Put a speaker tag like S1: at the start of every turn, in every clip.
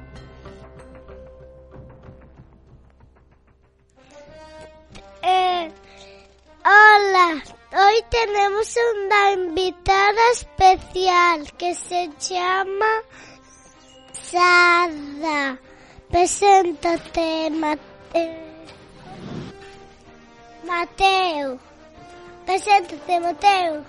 S1: Eh, hola, hoy tenemos una invitada especial que se llama Sara. Preséntate, Mateo. Mateo. Preséntate, Mateo.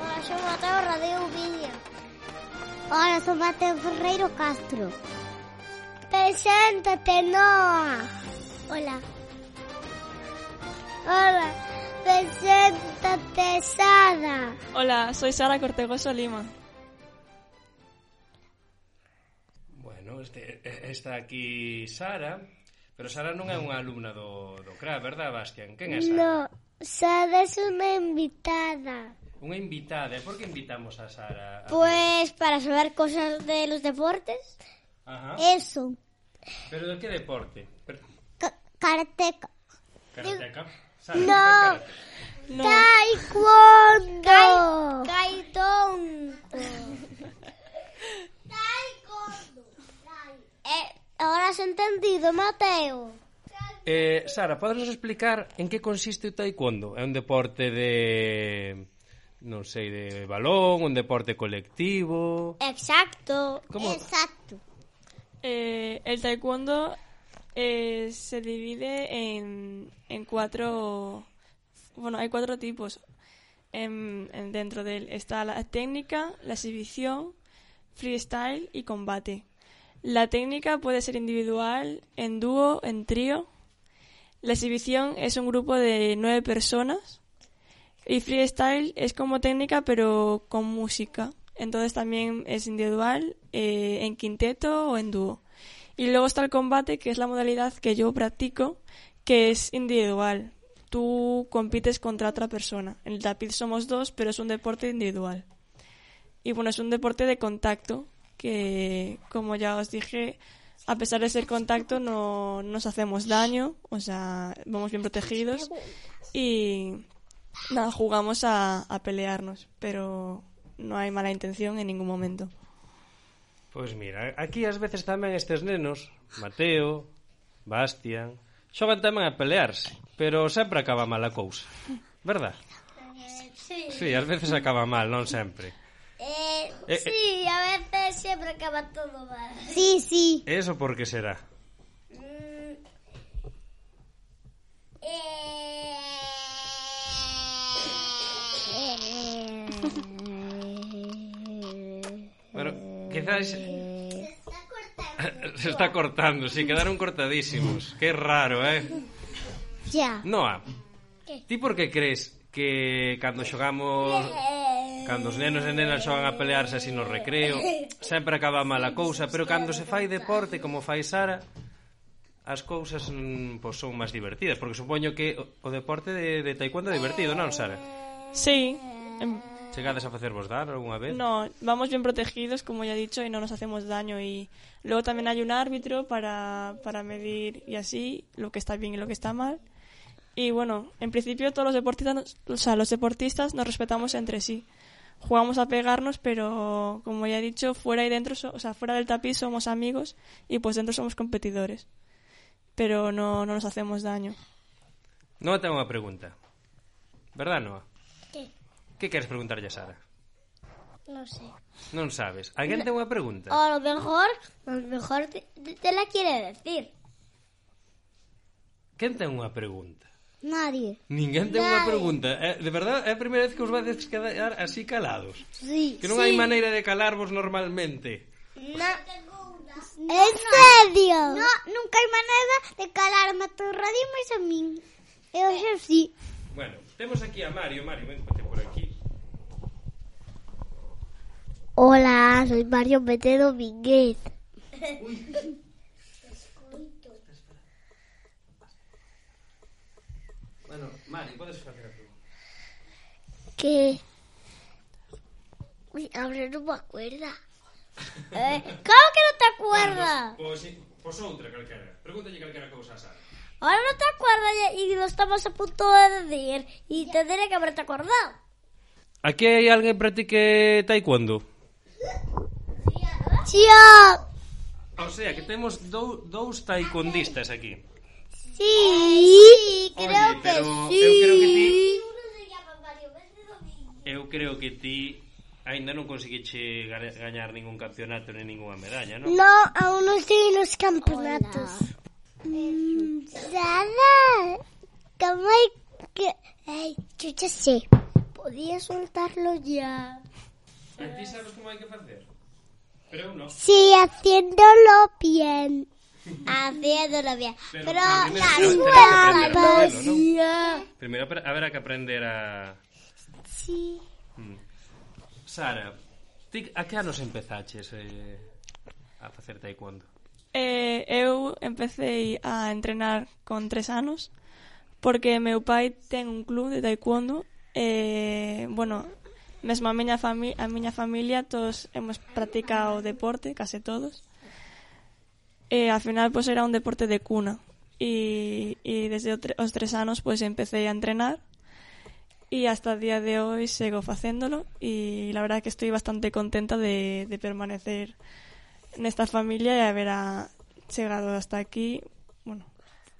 S1: Hola, soy Mateo Radio Video. Hola, soy Mateo Ferreiro Castro. Preséntate, Noah. Hola. Hola. Preséntate, Sara.
S2: Hola, soy Sara Cortegoso Lima.
S3: Bueno, este, está aquí Sara, pero Sara non é unha alumna do, do CRA, verdad, Bastian? Quen é Sara?
S1: No, Sara es una invitada.
S3: Unha invitada, e por que invitamos a Sara?
S1: Pues para saber cosas de los deportes.
S3: Ajá.
S1: Eso.
S3: Pero de que deporte? Per-
S1: Karateka.
S3: Karateca? Sara,
S1: No.
S3: karate.
S2: No,
S1: Taekwondo. Taekwondo. Eh, ahora has entendido, Mateo.
S3: Eh, Sara, podes explicar en que consiste o taekwondo? É un deporte de non sei, de balón, un deporte colectivo.
S1: Exacto.
S3: ¿Cómo?
S1: Exacto.
S2: eh, el taekwondo eh, se divide en, en cuatro... Bueno, hay cuatro tipos. Em, en- dentro de él está la técnica, la exhibición, freestyle y combate. La técnica puede ser individual, en dúo, en trío. La exhibición es un grupo de nueve personas. Y freestyle es como técnica, pero con música. Entonces también es individual, eh, en quinteto o en dúo. Y luego está el combate, que es la modalidad que yo practico, que es individual. Tú compites contra otra persona. En el tapiz somos dos, pero es un deporte individual. Y bueno, es un deporte de contacto, que como ya os dije, a pesar de ser contacto no nos hacemos daño, o sea, vamos bien protegidos. Y Nada, jugamos a, a pelearnos, pero no hay mala intención en ningún momento.
S3: Pois mira, aquí ás veces tamén estes nenos, Mateo, Bastian, xogan tamén a pelearse, pero sempre acaba mal a cousa. Verdad?
S1: Eh, Sí.
S3: Sí, ás veces acaba mal, non sempre. Eh,
S1: sí, a veces siempre acaba todo mal. Sí, sí.
S3: Eso por que será?
S1: Eh.
S3: Bueno, quizás se está cortando, si sí, quedaron cortadísimos. Qué raro, eh?
S1: Ya.
S3: Noa,
S1: Que?
S3: ti por que crees que cando xogamos
S1: Eh,
S3: Cando os nenos e nenas xogan a pelearse así no recreo Sempre acaba mal a cousa Pero cando se fai deporte como fai Sara As cousas mm, pois, son máis divertidas Porque supoño que o, o deporte de, de taekwondo é divertido, non Sara?
S2: Sí, em,
S3: Chegades a facervos dar algunha vez?
S2: no, vamos bien protegidos, como ya he dicho, y no nos hacemos daño. Y luego también hay un árbitro para, para medir y así lo que está bien y lo que está mal. Y bueno, en principio todos los deportistas, nos- o sea, los deportistas nos respetamos entre sí. Jugamos a pegarnos, pero como ya he dicho, fuera y dentro, so- o sea, fuera del tapiz somos amigos y pues dentro somos competidores. Pero no, no nos hacemos daño.
S3: Noa ten unha pregunta Verdad, Noa?
S1: ¿Qué?
S3: Que queres preguntarlle a Sara?
S1: No sé.
S3: Non sabes Alguén ten unha pregunta?
S1: O a lo mejor, a lo mejor te, te- te la quiere decir.
S3: Quen ten unha pregunta?
S1: Nadie.
S3: Ninguén ten unha
S1: Nadie.
S3: pregunta Eh, De verdade, é a primeira vez que os vades quedar así calados
S1: Sí.
S3: Que non hai maneira de calarvos normalmente.
S1: ¡En serio! radio. No, nunca hai maneira de calarme a teu radio máis a min. Eu xa sí.
S3: Bueno, temos aquí a Mario. Mario, ven ponte por aquí.
S1: Hola, soy Mario Mete Domínguez.
S3: Bueno, Mario, podes facer a pregunta.
S1: Que... Uy, ahora non me acuerda. Eh, claro que non te acuerdas.
S3: Pois, pois outra calquera. Pregúntalle calquera cousa a Sara.
S1: Ahora no te acuerdas y lo estamos a punto de decir. Y tendría que haberte acordado.
S3: Aquí hai alguén practique taekwondo?
S1: Tía.
S3: O sea, que temos dou, dous taekwondistas aquí.
S1: Sí. creo
S3: Oye,
S1: que
S3: pero
S1: sí.
S3: eu creo que ti... Eu creo que ti aínda non conseguiche gare- gañar ningún campeonato ni ninguna medalla, non?
S1: No, aún no estoy en los campeonatos. Sara, ¿cómo hay que...? Ay, yo ya sé. Podía soltarlo ya.
S3: E ti sabes como hai que facer? Pero eu non.
S1: Sí, haciéndolo bien. haciéndolo bien.
S3: Pero
S1: Pero
S3: también
S1: la
S3: es que
S1: escuela
S3: aprender a hacerlo, ¿no?
S1: vacía.
S3: Primeiro apre- haberá que aprender a... Mm.
S1: Sí.
S3: Sara, ti a que anos empezaches eh, a facer taekwondo?
S2: Eh, eu empecé a entrenar con tres anos porque meu pai ten un club de taekwondo e, bueno, mesmo a miña, fami a miña familia todos hemos practicado o deporte, case todos. E, al final, pois, era un deporte de cuna. E, e desde o tre- os tres anos, pois, empecé a entrenar e hasta o día de hoy sigo facéndolo e la verdad que estoy bastante contenta de, de permanecer nesta familia e haberá chegado hasta aquí, bueno,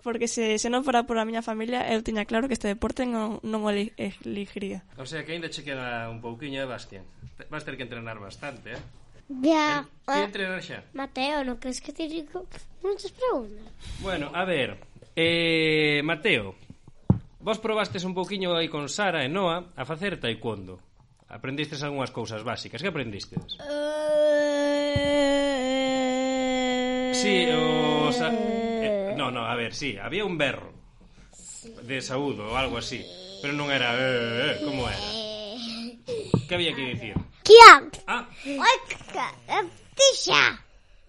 S2: porque se, se non fora por a miña familia, eu tiña claro que este deporte non, non o eli- eligiría.
S3: O sea, que aínda che queda un pouquiño, eh, Bastian? Te- Vas ter que entrenar bastante, eh?
S1: Ya.
S3: Ti entrenar xa?
S1: Mateo, ¿no crees que tiene muchas preguntas?
S3: Bueno, a ver, eh, Mateo, vos probastes un pouquiño aí con Sara e Noa a facer taekwondo. Aprendistes algunhas cousas básicas. Que aprendistes? Sí, o... Sa... eh, no, no, a ver, sí, había un berro de saúdo ou algo así. Pero non era... Eh, eh, como era? Que había que dicir?
S1: Eh, ¿Quién?
S3: Ah,
S1: ¡Ay, tía!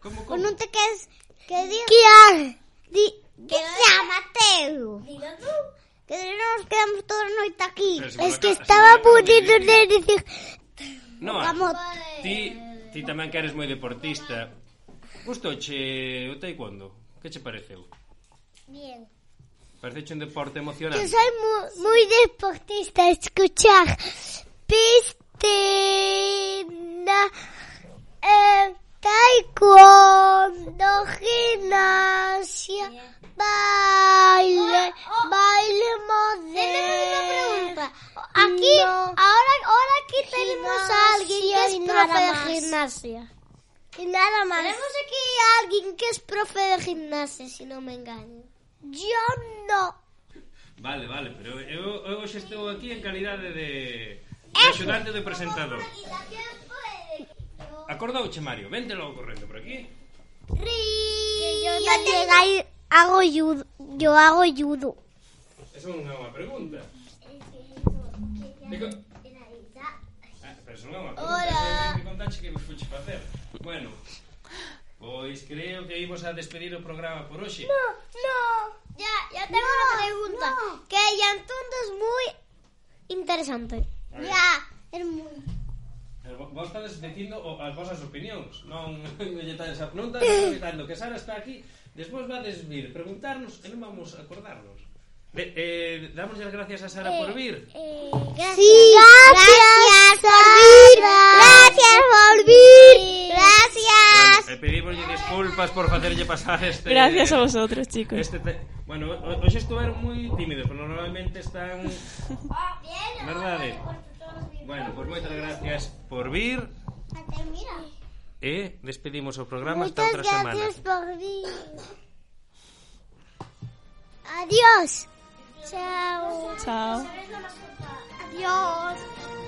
S3: como,
S1: Pues
S3: como?
S1: no te quedes... ¿Qué digo? ¿Quién? Di... ¿Qué sea, Mateo? Que nos quedamos toda la noche aquí.
S3: Pero si por
S1: Es Ah.
S3: la
S1: que
S3: ca- si por la
S1: estaba
S3: calle,
S1: poniendo de decir...
S3: Noa,
S1: Vamos.
S3: ti, ti tamén que eres moi deportista. Gustoche o taekwondo? Que che pareceu?
S1: Bien.
S3: Parece un
S1: Yo
S3: deporte emocionante.
S1: soy muy, muy deportista. Escuchar piscina, eh, taekwondo, gimnasia, baile, baile moderno. Aquí, ahora, ahora aquí tenemos a alguien que es profe de gimnasia. Y nada más. Tenemos aquí a alguien que es profe de gimnasia, si no me engaño. Yo no.
S3: Vale, vale, pero eu, eu hoxe estou aquí en calidade de, de axudante de presentador. Acordouche, Mario, vente logo correndo por aquí.
S1: Que yo también hay- hago judo. Yo hago judo.
S3: Esa non é unha pregunta. Dico... Ah, pero esa non é unha pregunta,
S1: Hola.
S3: esa é que contaxe que vos fuche facer. Bueno, pois creo que imos a despedir o programa por hoxe.
S1: No, ya, ya tengo una pregunta. Que Yantundo es muy interesante. Ya, es muy.
S3: Eh, vo- Vos estades dicindo o- as vosas opinións Non non lle estades a- non estades aprovechando que Sara está aquí Despois vades vir preguntarnos e non vamos a acordarnos De, eh, damos as gracias a Sara
S2: Eh,
S3: por vir
S1: eh, gracias. gracias, por Gracias por Gracias.
S3: E pedimoslle disculpas por facerlle pasar este
S2: Gracias a vosotros, chicos.
S3: este te... Bueno, ho- hoxe estuveron moi tímidos Pero normalmente están Verdade Bueno, pois moitas gracias por vir E despedimos o programa hasta outra semana
S1: por venir. Adiós. Chao.
S2: Chao.
S1: Adiós.